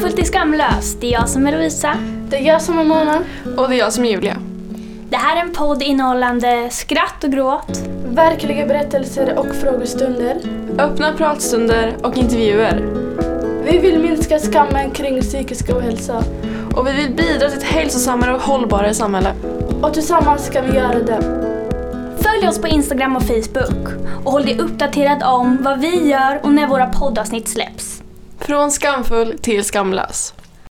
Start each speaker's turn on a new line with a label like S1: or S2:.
S1: Seriöst, det är jag som är Lovisa.
S2: Det är jag som är Mona.
S3: Och det är jag som är Julia.
S1: Det här är en podd innehållande skratt och gråt.
S2: Verkliga berättelser och frågestunder.
S3: Öppna pratstunder och intervjuer.
S2: Vi vill minska skammen kring psykisk ohälsa
S3: Och vi vill bidra till ett hälsosammare och hållbarare samhälle.
S2: och tillsammans kan vi göra det.
S1: Följ oss på Instagram och Facebook och håll dig uppdaterad om vad vi gör och när våra poddavsnitt släpps.
S3: Från skamfull till skamlös.